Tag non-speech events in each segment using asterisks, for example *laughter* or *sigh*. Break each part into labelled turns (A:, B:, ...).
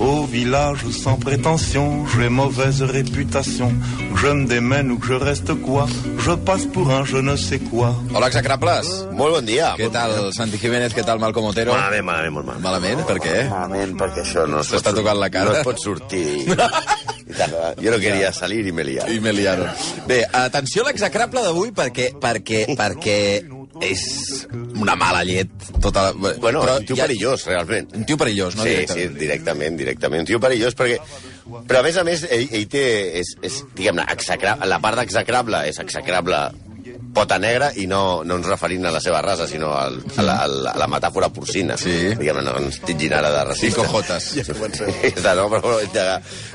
A: Au village sans prétention, j'ai mauvaise réputation. Que Je me démène ou que je reste quoi Je passe pour un je ne sais quoi.
B: Hola, execrables.
C: Molt bon dia.
B: Què tal, Santi Jiménez? Què tal, Malcom Otero?
C: Malament, malament, molt malament.
B: Malament? Per què?
C: Malament, perquè això no... es
B: S'està
C: pot-
B: tocant la cara.
C: No es pot sortir.
B: *laughs*
C: I tant, eh? jo no queria salir i me liar.
B: I me liaron. Bé, atenció a l'execrable d'avui perquè, perquè, perquè és una mala llet. Tota la...
C: Bueno,
B: però
C: un tio
B: ja-
C: perillós, realment.
B: Un tio perillós, no?
C: sí, sí,
B: Directament.
C: directament, directament. Un tio perillós perquè... Però, a més a més, ell, ell té... És, és diguem-ne, execra... la part d'execrable és execrable pota negra i no, no ens referint a la seva raça, sinó al, a, la, a, la, a la metàfora porcina.
B: Sí.
C: Diguem-ne, no ens tingin ara de racista.
B: Cinco jotes.
C: Sí, *laughs* de no, però, ja,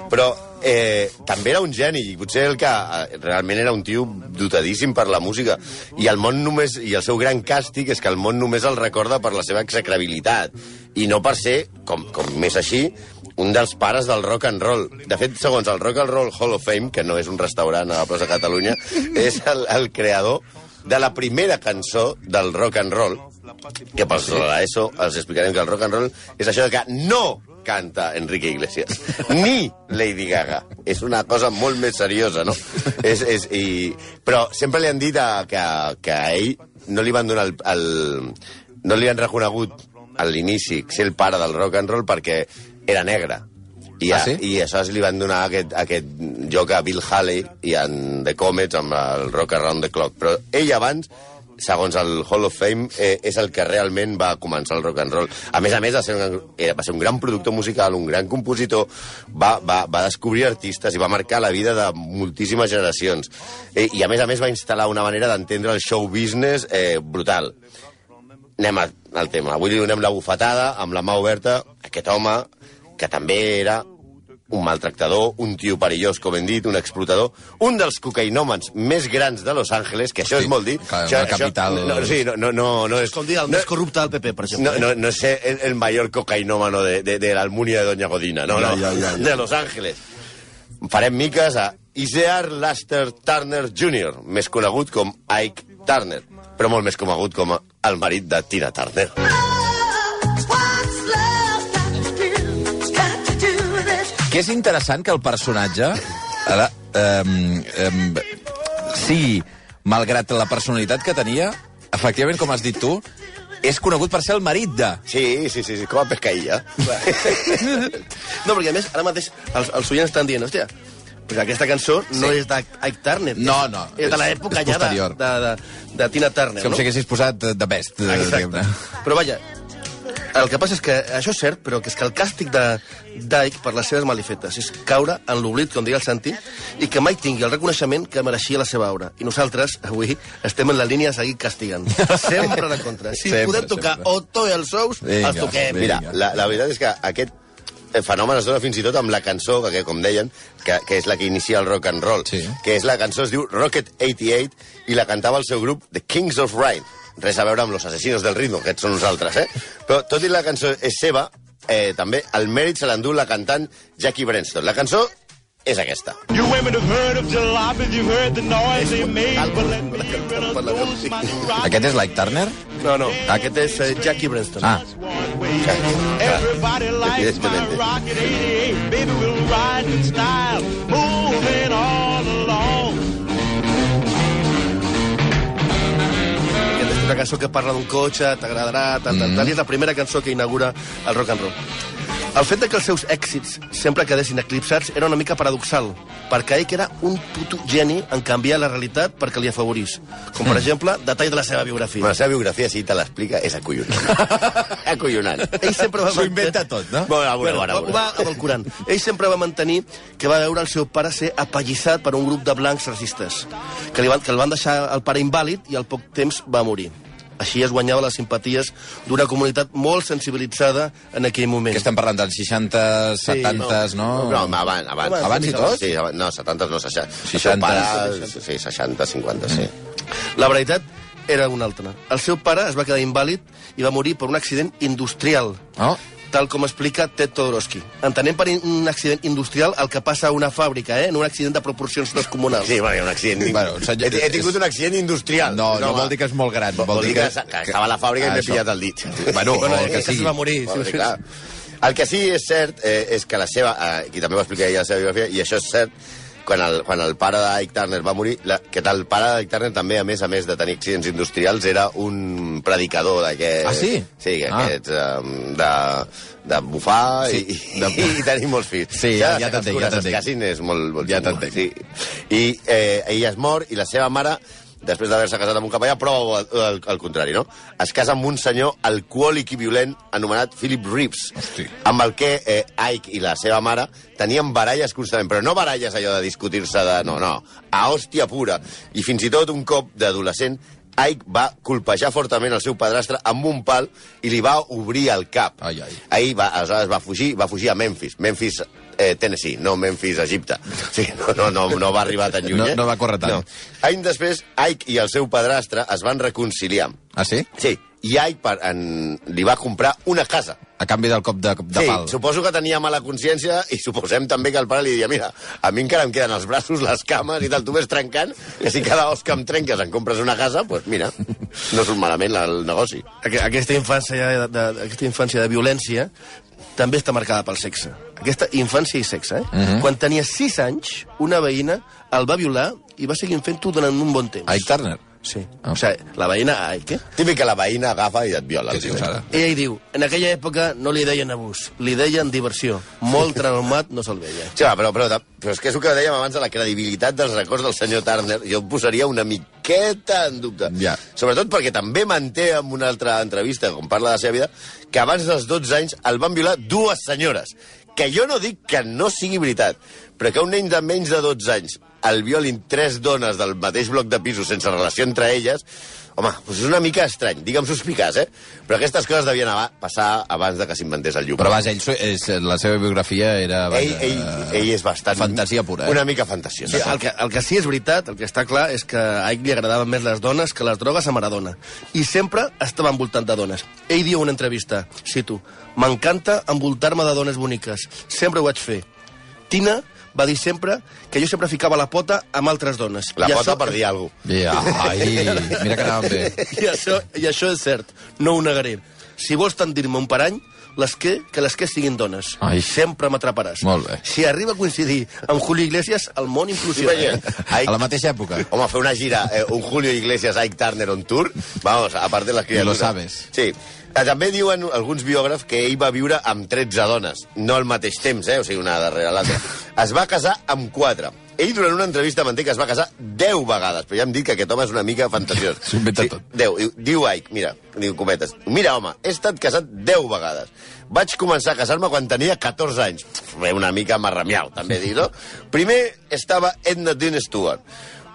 C: però eh, també era un geni i potser el que eh, realment era un tio dotadíssim per la música i el món només i el seu gran càstig és que el món només el recorda per la seva execrabilitat i no per ser, com, com més així un dels pares del rock and roll. De fet, segons el Rock and Roll Hall of Fame, que no és un restaurant a la plaça Catalunya, és el, el creador de la primera cançó del rock and roll, que per sobre eso els explicarem que el rock and roll és això de que no canta Enrique Iglesias, ni Lady Gaga. És una cosa molt més seriosa, no? És, és, i... Però sempre li han dit a, que, que a ell no li van donar el, el... no li han reconegut a l'inici ser el pare del rock and roll perquè era negre. I,
B: Ah, sí?
C: I aleshores li van donar aquest, aquest joc a Bill Haley i en The Comets amb el Rock Around the Clock. Però ell abans, segons el Hall of Fame, eh, és el que realment va començar el rock and roll. A més a més, va ser un, gran- eh, va ser un gran productor musical, un gran compositor, va, va, va descobrir artistes i va marcar la vida de moltíssimes generacions. Eh, I a més a més va instal·lar una manera d'entendre el show business eh, brutal anem a- al tema. Avui li donem la bufetada amb la mà oberta a aquest home que també era un maltractador, un tio perillós, com hem dit, un explotador, un dels cocainòmans més grans de Los Angeles, que això és molt dir...
B: clar,
C: això,
B: una capital-
C: Això, no, sí, no, no, no, no és...
D: Com dir, el
C: no,
D: més corrupte del PP, per exemple.
C: no, no, no sé el, el mayor cocainómano de, de, de la Almunia de Doña Godina, no, no,
D: Ja, ja, ja, ja.
C: de Los Ángeles. Farem miques a Isear Laster Turner Jr., més conegut com Ike Turner, però molt més conegut com a- el marit de Tina Turner.
B: Que és interessant que el personatge ara, um, um, sigui, malgrat la personalitat que tenia, efectivament, com has dit tu, és conegut per ser el marit de...
C: Sí, sí, sí, sí com a *laughs* pescaïlla.
D: No, perquè a més, ara mateix els, els oients estan dient, hòstia,
C: pues
D: però aquesta cançó no
B: Sí.
D: és d'Ike Turner.
B: No, no,
D: És de
B: és-
D: l'època
B: és
D: ja de,
B: posterior.
D: de, de, de Tina Turner,
B: Com
D: no?
B: si haguessis posat eh, de best, eh,
D: Exacte.
B: diguem-ne.
D: Però vaja, el que passa és que això és cert, però que és que el càstig de Dyke per les seves malifetes és caure en l'oblit, com deia el Santi, i que mai tingui el reconeixement que mereixia la seva obra. I nosaltres, avui, estem en la línia de seguir castigant.
B: *laughs*
D: Sempre a la contra. Si
B: Sempre,
D: sempre, podem tocar
B: sempre.
D: Otto i els ous,
B: Vinga,
D: els toquem.
B: vinga.
C: Mira, la, la veritat és que aquest eh, fenomen es dona fins i tot amb la cançó, que, com deien, que, que és la que inicia el rock and roll,
B: Sí.
C: que és la cançó, es diu Rocket 88, i la cantava el seu grup The Kings of Rhyme. Res a veure amb los asesinos del ritmo, aquests són nosaltres, eh? Però tot i la cançó és seva, eh, també el mèrit se l'endú la cantant Jackie Brenston. La cançó és aquesta.
E: You women have heard of jalopies, you've heard the noise they made, but let me
D: per la música.
B: Aquest és Like Turner?
D: No, no, aquest és eh, Jackie Brenston.
B: Ah,
E: Everybody likes my
C: Evidentemente.
E: rocket 88. Baby, we'll ride in style, moving all along.
D: Aquesta és una cançó que parla d'un cotxe, t'agradarà, tal, tal,
C: Mm-hmm.
D: tal, i és la primera cançó que inaugura el rock and roll. El fet de que els seus èxits sempre quedessin eclipsats era una mica paradoxal, perquè ell que era un puto geni en canviar la realitat perquè li afavorís. Com, per exemple, detall de la seva
C: Mm. Bueno,
D: biografia.
C: la seva biografia, si te l'explica, és
D: *laughs*
C: acollonant. acollonant.
D: Ell sempre va
B: S'ho inventa tot, no?
C: Ah, Bueno, a veure, a veure, a
D: ho
C: veure.
D: va avalcorant. Ell sempre va mantenir que va veure el seu pare ser apallissat per un grup de blancs racistes, que, li van, que el van deixar el pare invàlid i al poc temps va morir. Així es guanyava les simpaties d'una comunitat molt sensibilitzada en aquell moment.
B: que estem parlant dels 60, 70, no?
C: No, home, abans, abans.
D: Abans i tot?
C: Sí, abans, no, 70 no, 60.
B: 60.
C: 60 para... Sí, 60, 50, sí.
D: La veritat era una altra. El seu pare es va quedar invàlid i va morir per un accident industrial,
B: Oh?
D: tal com explica Ted Todorowsky. Entenem per in- un accident industrial el que passa a una fàbrica, eh? en un accident de proporcions descomunals.
C: Sí, bueno, un accident...
B: Bueno, un senyor-
C: he, he tingut un accident industrial.
B: No, no,
C: home.
B: vol dir que és molt gran.
C: Vol, vol dir que, que, que estava a la fàbrica
B: Ah,
C: i m'he
B: això.
C: pillat el dit.
B: Bueno,
C: *laughs*
B: o el
D: eh,
B: que
D: que
B: sigui.
D: es va morir.
C: Vol dir,
D: sí,
C: clar. El que sí és cert eh, és que la seva... Eh, qui també ho explica ella a la seva biografia, i això és cert, quan el, quan el pare de Ike Turner va morir, la, que el pare de Ike Turner també, a més a més de tenir accidents industrials, era un predicador d'aquest...
B: Ah, sí?
C: Sí,
B: Ah.
C: aquest, um, de, de bufar
B: Sí,
C: sí, i,
B: de
C: de...
B: bufar.
C: i tenir molts fills.
B: Sí, ja- ja
C: les
B: t'entenc, ja
C: cures es
B: t'entenc.
C: casin és molt... molt
B: Ja
C: xungo,
B: t'entenc.
C: Sí. I eh, ella es mor i la seva mare, després d'haver-se casat amb un capellà, prova el, el, el contrari, no? Es casa amb un senyor alcohòlic i violent anomenat Philip Reeves,
B: Hosti.
C: amb el que eh, Ike i la seva mare tenien baralles constantment, però no baralles allò de discutir-se de... No, no, a hòstia pura. I fins i tot un cop d'adolescent Ike va colpejar fortament el seu padrastre amb un pal i li va obrir el cap.
B: Ai, ai.
C: Ahir va, aleshores va fugir, va fugir a Memphis. Memphis, eh, Tennessee, no Memphis, Egipte. *laughs* Sí, no, no, no, no va arribar tan lluny,
B: No-
C: eh?
B: no va córrer tant.
C: Any després, Ike i el seu padrastre es van reconciliar.
B: Ah, sí?
C: Sí, i Ike per, en, li va comprar una casa.
B: A canvi del cop de, de
C: sí,
B: pal.
C: suposo que tenia mala consciència i suposem també que el pare li diria mira, a mi encara em queden els braços, les cames i tal, tu ves trencant, que si cada os que em trenques em compres una casa, doncs pues mira, no surt malament el negoci.
D: Aqu- Aquesta infància de, de, aquesta infància de violència també està marcada pel sexe. Aquesta infància i sexe, eh? Uh -huh. Quan tenia 6 anys, una veïna el va violar i va seguir fent-ho durant un bon temps.
B: Ike Turner.
D: Sí.
B: Ah.
D: O sigui, la veïna Ike, eh?
C: Típic que la veïna agafa i et viola. eh?
B: Què
C: el
B: dius
C: tio.
B: ara?
D: Ella hi diu, en aquella època no li deien abús, li deien diversió. Molt traumat no se'l veia.
C: Sí, va, però, però, però és que és el que dèiem abans de la credibilitat dels records del senyor Turner. Jo em posaria una miqueta en dubte.
B: Ja.
C: Sobretot perquè també manté en una altra entrevista, com parla de la seva vida, que abans dels 12 anys el van violar dues senyores. Que jo no dic que no sigui veritat, però que un nen de menys de 12 anys el violin tres dones del mateix bloc de pisos sense relació entre elles, home, doncs és una mica estrany, digue'm suspicaç, eh? Però aquestes coses devien ava- passar abans de que s'inventés el llum.
B: Però vaja, ell, so- és, la seva biografia era...
C: Ell,
B: Vaja,
C: ell, ell és bastant...
B: Fantasia pura, eh?
C: Una mica fantasiosa.
D: Sí, el, que, el que sí és veritat, el que està clar, és que a Ike li agradaven més les dones que les drogues a Maradona. I sempre estava envoltant de dones. Ell diu en una entrevista, cito, «M'encanta envoltar-me de dones boniques. Sempre ho vaig fer. Tina va dir sempre que jo sempre ficava la pota amb altres dones.
C: La
D: I
C: pota
D: això-
C: per dir alguna cosa.
B: Ja,
C: *laughs*
B: ai, mira que anàvem bé.
D: *laughs* I això, I això és cert, no ho negaré. Si vols tendir-me un parany, les que, que les que siguin dones.
B: Ai.
D: Sempre m'atraparàs.
B: Molt bé.
D: Si arriba a coincidir amb Julio Iglesias, el món implosiona.
C: veient?
D: eh?
C: Ai.
B: A la mateixa època.
C: Home, fer una gira, eh, un Julio Iglesias, Ike Turner on tour, vamos, a part de les criatures.
B: lo sabes.
C: Sí. Eh, També diuen alguns biògrafs que ell va viure amb 13 dones, no al mateix temps, eh? o sigui, una darrere l'altra. eh? Es va casar amb 4. Ell, durant una entrevista, manté que es va casar 10 vegades, però ja hem dit que aquest home és una mica fantasiós.
B: S'ho inventa tot.
C: Déu, diu, diu Ike, mira, diu cometes. Mira, home, he estat casat 10 vegades. Vaig començar a casar-me quan tenia 14 anys. Pff, Una mica marramiau, també dir, no? Primer estava Edna Dean Stewart.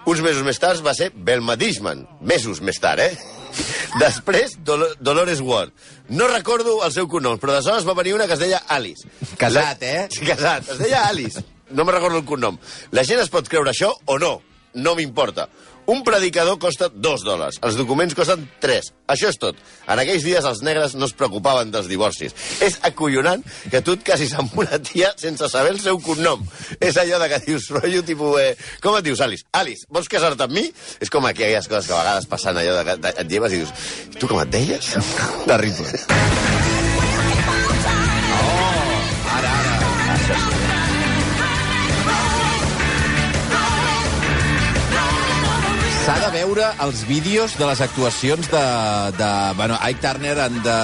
C: Uns mesos més tard va ser Belma Dishman. Mesos més tard, eh? *laughs* Després, Dol Dolores Ward. No recordo el seu cognom, però d'aleshores va venir una que es deia Alice.
B: Casat, eh?
C: Sí, Casat. Es deia Alice. No me recordo el cognom. La gent es pot creure això o no. No m'importa. Un predicador costa 2 dòlars. Els documents costen 3. Això és tot. En aquells dies els negres no es preocupaven dels divorcis. És acollonant que tu et casis amb una tia sense saber el seu cognom. És allò de que dius, rotllo, tipus... Eh, com et dius, Alice? Alice, vols casar-te amb mi? És com aquelles coses que a vegades passen allò de que te- et lleves i dius, tu com et deies?
B: Terrible. S'ha de veure els vídeos de les actuacions de, de bueno, Ike Turner and de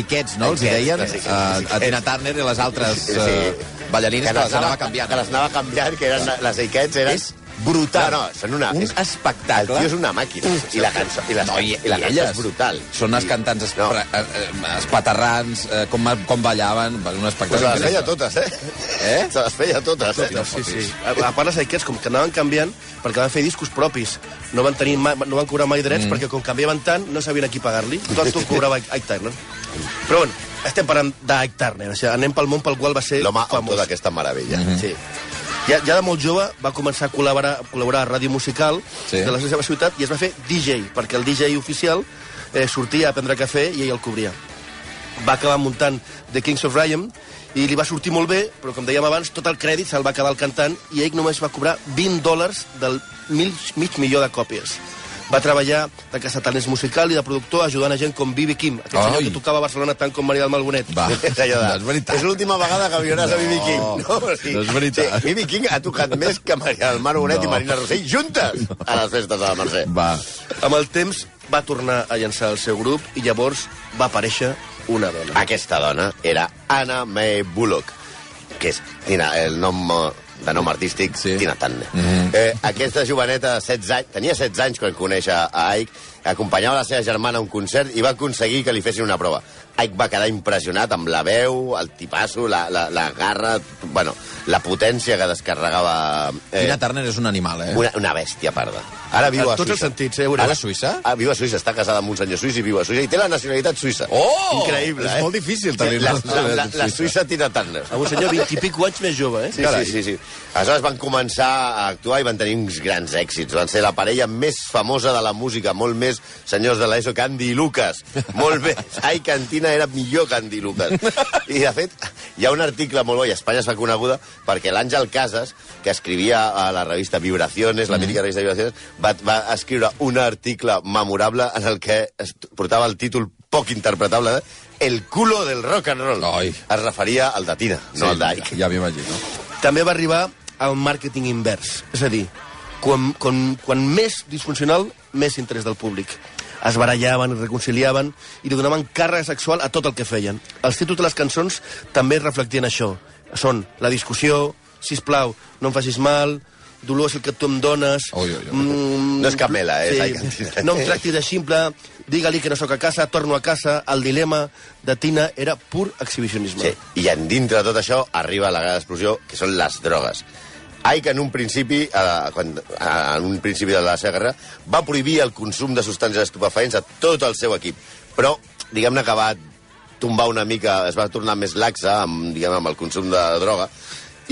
B: Ikeets, no? Els hi
C: Ikeets,
B: deien
C: sí, sí,
B: a, a Tina
C: Ikeets.
B: Turner i les altres
C: Sí.
B: eh, ballarines que les anava canviant.
C: Que les anava canviant, que eren les Aikets, eren...
B: És brutal.
C: No, no, són una...
B: Un
C: és-
B: espectacle.
C: El tio és una màquina. I la cançó, i la,
B: No, i,
C: i la
B: i
C: cançó
B: elles
C: és brutal.
B: Són unes
C: I-
B: cantants
C: No,
B: espra- eh, eh, espaterrans, eh, com, com ballaven, va, un espectacle.
C: pues se les feia
B: increïble.
C: totes, eh?
B: Eh?
C: *laughs* Se les feia totes, eh?
D: Sí, sí. A, a part, les Aikets, com que anaven canviant, perquè van fer discos propis, no van, tenir mai, no van cobrar mai drets, mm. perquè com canviaven tant, no sabien a qui pagar-li. Tot ho cobrava Ike Ike Turner. Però bueno, estem parlant d'Ike Turner, o sigui, anem pel món pel qual va ser
C: L'home autor
D: famós.
B: Mm-hmm.
C: d'aquesta meravella.
D: Sí. Ja, ja de molt jove va començar a col·laborar, a col·laborar a ràdio musical
B: Sí.
D: sí. de la seva ciutat i es va fer DJ, perquè el DJ oficial eh, sortia a prendre cafè i ell el cobria. Va acabar muntant The Kings of Rhythm i li va sortir molt bé, però com dèiem abans, tot el crèdit se'l va quedar el cantant i ell només va cobrar 20 dòlars del mil, mig milió de còpies. Va treballar de casataners musical i de productor ajudant a gent com Bibi Kim, aquest Ai.
B: Ai.
D: senyor que tocava a Barcelona tant com Maria del Malbonet. *laughs*
B: Va,
C: És *laughs* allò de...
B: no és veritat.
C: És l'última vegada que viuràs no, a B.B. King.
B: no és veritat.
C: Sí, B.B. King ha tocat més que Maria del Mar Bonet
B: No.
C: i Marina Rossell juntes a les festes de la Mercè.
B: Va.
D: Amb el temps va tornar a llançar el seu grup i llavors va aparèixer una dona.
C: Aquesta dona era Anna May Bullock, que és Tina, el nom eh, de nom artístic,
B: Sí.
C: sí. Tina Turner. Mm -hmm. eh, aquesta joveneta de 16 anys, tenia 16 anys quan coneix a a Ike, acompanyava la seva germana a un concert i va aconseguir que li fessin una prova. Ike va quedar impressionat amb la veu, el tipasso, la, la, la garra, bueno, la potència que descarregava...
B: Tina Turner és un animal, eh?
C: Una, una bèstia parda. Ara viu
D: En
C: a,
D: tots
C: Suïssa.
D: els sentits, eh, Oriol?
B: Ara a Suïssa?
C: Ah, viu a Suïssa, està casada amb un senyor suís i viu a Suïssa i té la nacionalitat suïssa.
B: Oh!
C: Increïble,
B: És
C: eh?
B: molt difícil tenir la
C: la, la, la, la,
B: nacionalitat
C: la
B: suïssa.
C: Suïssa Tina Turner.
D: Amb un senyor 20 i pico anys més jove, eh?
C: Sí, sí, sí, sí. Aleshores van començar a actuar i van tenir uns grans èxits. Van ser la parella més famosa de la música, molt més senyors de l'ESO que Andy i Lucas. Molt bé. Ai, Cantina era millor que Andy i Lucas. I, de fet, hi ha un article molt bo, i a Espanya es fa coneguda, perquè l'Àngel Casas, que escrivia a la revista Vibraciones, la mítica revista Vibraciones, va, va escriure un article memorable en el que es portava el títol poc interpretable de El culo del rock and roll.
B: Ai.
C: Es referia al de Tina, no al d'Ike.
B: Ja m'imagino.
D: També va arribar al màrqueting invers. És a dir, quan, quan, quan més disfuncional, més interès del públic. Es barallaven, es reconciliaven i li donaven càrrega sexual a tot el que feien. Els títols de les cançons també reflectien això. Són la discussió, sisplau, no em facis mal, dolor és el que tu em dones...
B: Ui, ui, ui.
D: Mm,
C: No és cap mela, eh, Ai,
D: Sí.
C: Cantina.
D: No em tractis de ximple, digue-li que no sóc a casa, torno a casa. El dilema de Tina era pur exhibicionisme.
C: Sí, i en dintre de tot això arriba la gran explosió, que són les drogues. Ike, en un principi, eh, quan, eh, en un principi de la seva guerra, va prohibir el consum de substàncies estupefaents a tot el seu equip. Però, diguem-ne que va tombar una mica, es va tornar més laxa amb, diguem, amb el consum de droga,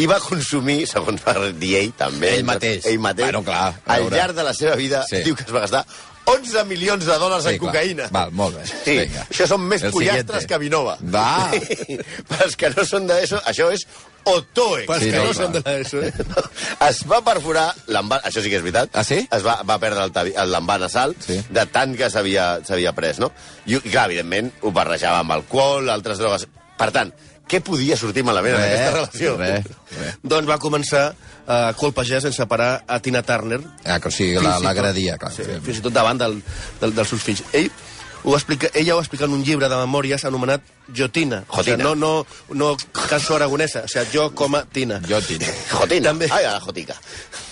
C: i va consumir, *laughs* segons va dir ell, també...
B: Ell mateix.
C: Ell mateix.
B: Bueno, clar, a
C: al
B: veure.
C: llarg de la seva vida,
B: Sí.
C: sí. diu que es va gastar 11 milions de dòlars
B: Sí,
C: en
B: clar.
C: cocaïna.
B: Val, molt bé.
C: Sí,
B: Vinga.
C: això són més
B: El
C: pollastres
B: siguiente.
C: que Vinova.
B: Va.
C: *laughs* Pels que no són d'això, això és Otoe.
D: Pels
B: Sí,
D: que
B: no,
D: no
B: clar.
D: són de l'ESO,
C: *laughs*
D: eh?
C: Es va perforar l'envà... Això sí que és veritat.
B: Ah, sí?
C: Es va, va perdre el tavi- el l'envà nasal
B: Sí.
C: de tant que s'havia s'havia pres, no? I, i, clar, evidentment, ho barrejava amb alcohol, altres drogues... Per tant, què podia sortir malament en
B: Res,
C: aquesta relació?
B: Eh, res, res.
D: Doncs va començar eh, a colpejar sense parar a Tina Turner.
B: Ah, que o sigui,
D: Fins i
B: la-
D: tot-
B: l'agradia, clar.
D: Sí, fins i tot davant del, del, dels seus fills. Ell ho explica, ella ho explica en un llibre de memòries anomenat Jotina. O sigui,
C: Jotina.
D: no, no, no cançó aragonesa, o sigui, jo com a Tina.
B: Jo tinc.
C: Jotina.
D: També-
C: Ai, a la jotica.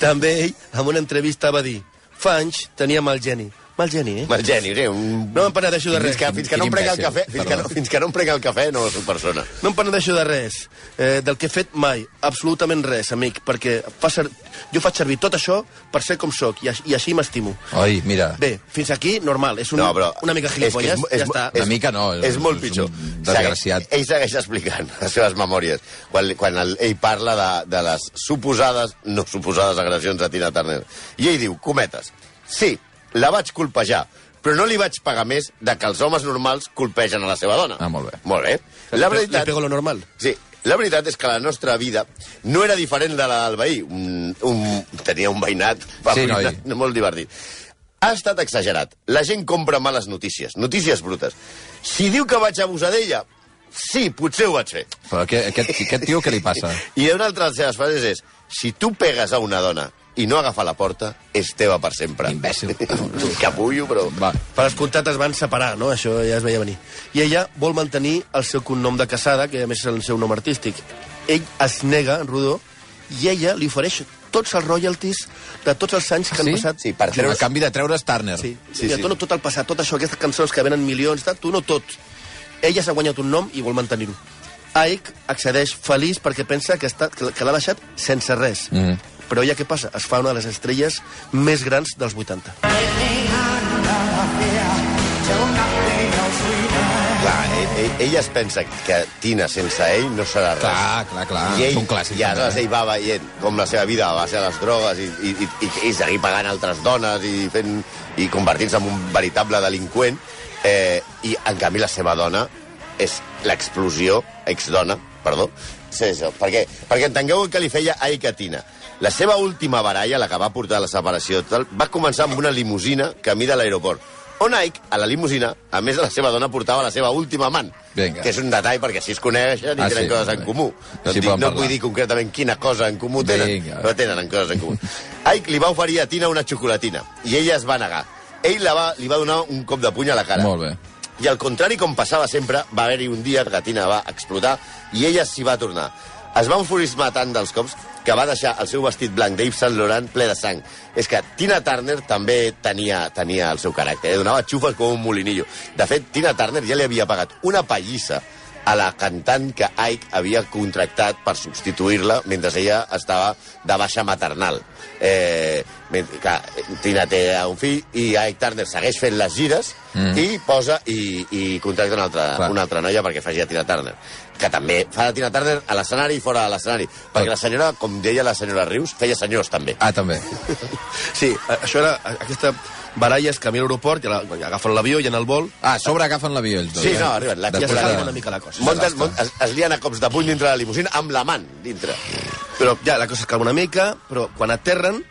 D: També ell, en una entrevista, va dir fa anys tenia mal geni. Mal geni, eh?
C: Mal geni, sí, un...
D: No em penedeixo de
C: fins
D: res.
C: que, fins que no em
B: Quin
C: prenc el
B: imbècil,
C: cafè, fins que, no,
B: perdó.
C: fins que no em prenc el cafè, no soc persona.
D: No em penedeixo de res, eh, del que he fet mai, absolutament res, amic, perquè fa ser... jo faig servir tot això per ser com sóc i, aix- i així m'estimo.
B: Oi, mira.
D: Bé, fins aquí, normal, és un,
C: Ah. No, però...
D: una mica gilipolles,
C: és que
D: ja està.
B: Una mica no,
C: És,
B: és-
C: és molt
B: és
C: pitjor.
B: un desgraciat.
C: Segueix- Ell segueix explicant *laughs* les seves memòries. Quan, quan el, ell parla de, de les suposades, no suposades agressions a Tina Turner. I ell diu, cometes, sí, la vaig colpejar, però no li vaig pagar més de que els homes normals colpegen a la seva dona.
B: Ah, molt bé.
C: Molt bé. La veritat...
D: Le pego lo normal.
C: Sí, la veritat és que la nostra vida no era diferent de la del veí. Un, un, tenia un veïnat
B: Sí, noi.
C: veïnat molt divertit. Ha estat exagerat. La gent compra males notícies, notícies brutes. Si diu que vaig abusar d'ella, sí, potser ho vaig fer.
B: Però aquest, aquest, aquest tio què li passa?
C: I una altra de les seves frases és si tu pegues a una dona i no agafa la porta, és teva per sempre. *laughs*
B: Imbècil.
C: Capullo, però...
B: Va.
D: Per escoltat es van separar, no? Això ja es veia venir. I ella vol mantenir el seu cognom de casada, que a més és el seu nom artístic. Ell es nega, en Rodó, i ella li ofereix tots els royalties de tots els anys que han passat.
C: Sí, per
B: A
C: treure's-
B: canvi de treure's Turner.
D: Sí,
C: Sí,
D: sí, Mira,
C: sí.
D: tu no tot el passat, tot això, aquestes cançons que venen milions, tal, tu no tot. Ella s'ha guanyat un nom i vol mantenir-ho. Ike accedeix feliç perquè pensa que, està, que que l'ha deixat sense res. Mm. Però ella què passa? Es fa una de les estrelles més grans dels 80.
C: Clar, ell, ell, ell es pensa que Tina sense ell no serà res.
B: Clar, clar, clar.
C: I ell,
B: És un clàssic,
C: I aleshores
B: també. eh?
C: ell va veient com la seva vida va ser a les drogues i, i, i, i, i seguir pagant altres dones i, fent, i convertint-se en un veritable delinqüent. Eh, I, en canvi, la seva dona és l'explosió, exdona, perdó, Sí, això. Perquè, perquè entengueu el que li feia a ell que a Tina. La seva última baralla, la que va portar a la separació, tal, va començar amb una limusina camí de l'aeroport. On Ike, a la limusina, a més de la seva dona, portava la seva última amant.
B: Vinga.
C: Que és un detall, perquè si es coneixen i
B: Ah,
C: ah, tenen
B: sí,
C: sí, coses
B: bé.
C: en comú. No,
B: Sí,
C: sí, dic,
B: poden
C: no
B: parlar.
C: vull dir concretament quina cosa en comú tenen,
B: Vinga.
C: però tenen en coses en comú. Ike li va oferir a Tina una xocolatina, i ella es va negar. Ell la va, li va donar un cop de puny a la cara.
B: Molt bé.
C: I al contrari, com passava sempre, va haver-hi un dia que Tina va explotar i ella s'hi va tornar. Es va enfurismar tant dels cops que va deixar el seu vestit blanc d'Yves Saint Laurent ple de sang. És que Tina Turner també tenia, tenia el seu caràcter, eh? donava xufes com un molinillo. De fet, Tina Turner ja li havia pagat una pallissa a la cantant que Ike havia contractat per substituir-la mentre ella estava de baixa maternal. Eh, men- que Tina té un fill i Ike Turner segueix fent les gires mm. i posa i, i contracta una altra,
B: Clar.
C: una altra noia perquè faci a Tina Turner que també fa de Tina Turner a l'escenari i fora de l'escenari. Perquè la senyora, com deia la senyora Rius, feia senyors també.
B: Ah, també.
D: Sí, a- això era... a- Aquesta baralla és camí a l'aeroport, i la- i agafen l'avió i en el vol...
B: Ah, a sobre agafen l'avió ells dos.
C: Sí,
B: eh?
C: no, arriben. La
B: De
C: tia
D: es calma
B: posada.
D: una mica la cosa.
C: Monten, mont, es, es lien a cops de puny dintre la limusina amb l'amant dintre.
D: Però ja, la cosa es calma una mica, però quan aterren,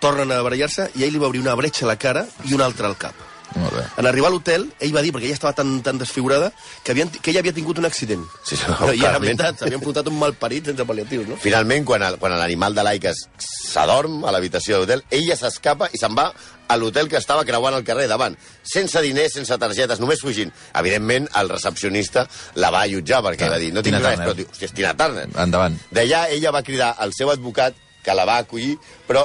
D: tornen a barallar-se i ell li va obrir una bretxa a la cara i una altra al cap.
B: Molt bé.
D: En arribar a l'hotel, ell va dir, perquè ella estava tan, tan desfigurada, que, havien, que ella havia tingut un accident.
C: Sí, sí,
D: no, I era
C: clarament.
D: veritat, s'havia enfrontat un malparit sense pal·liatius, no?
C: Finalment, quan el- quan l'animal de l'Aica es- s'adorm a l'habitació de l'hotel, ella s'escapa i se'n va a l'hotel que estava creuant el carrer davant, sense diners, sense targetes, només fugint. Evidentment, el recepcionista la va allotjar perquè
B: Clar,
C: va dir, no tinc
B: Tina
C: res,
B: Turner.
C: però diu, hòstia, és Tina Turner.
B: Endavant.
C: D'allà ella va cridar al seu advocat, que la va acollir, però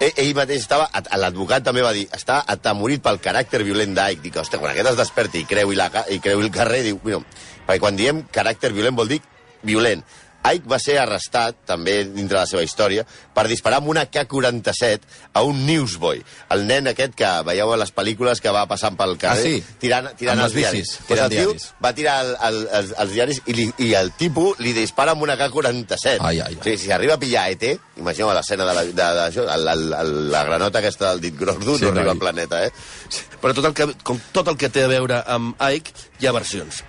C: e- ell mateix estava... at- L'advocat també va dir, està atemorit pel caràcter violent d'Aic. Dic, hòstia, quan aquest es desperti i creu, i la, ca- i creu el carrer, diu, mira, perquè quan diem caràcter violent vol dir violent. Ike va ser arrestat, també dintre de la seva història, per disparar amb una K-47 a un newsboy. El nen aquest que veieu a les pel·lícules que va passant pel carrer
B: Ah, sí?
C: tirant, tirant
B: Amb
C: els
B: les
C: diaris.
B: bicis,
C: Doncs
B: tirant
C: el tio
B: diaris.
C: va tirar el, el, els, els diaris i, li, i el tipus li dispara amb una K-47.
B: Ai, ai, ai.
C: Sí, si arriba a pillar ET, imagineu l'escena de la, de, de, això, la, la, la granota aquesta del dit gros d'un,
B: Sí,
C: sí, no arriba
B: noi.
C: al planeta, eh?
D: Però tot el que, com tot el que té a veure amb Ike, hi ha versions.